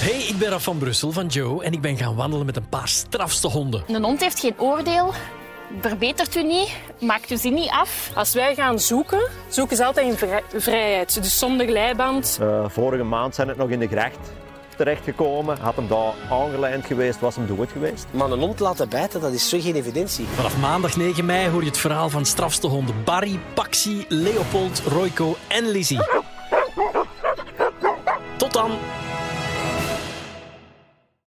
Hey, ik ben Raf van Brussel van Joe en ik ben gaan wandelen met een paar strafste honden. Een hond heeft geen oordeel, verbetert u niet, maakt u zin niet af. Als wij gaan zoeken, zoeken ze altijd in vrij- vrijheid. Dus zonder glijband. Eh, vorige maand zijn het nog in de gracht terechtgekomen. Had hem daar aangelijnd geweest, was hem dood geweest. Maar een hond laten bijten, dat is zo geen evidentie. Vanaf maandag 9 mei hoor je het verhaal van strafste honden Barry, Paxi, Leopold, Royco en Lizzie. Tot dan!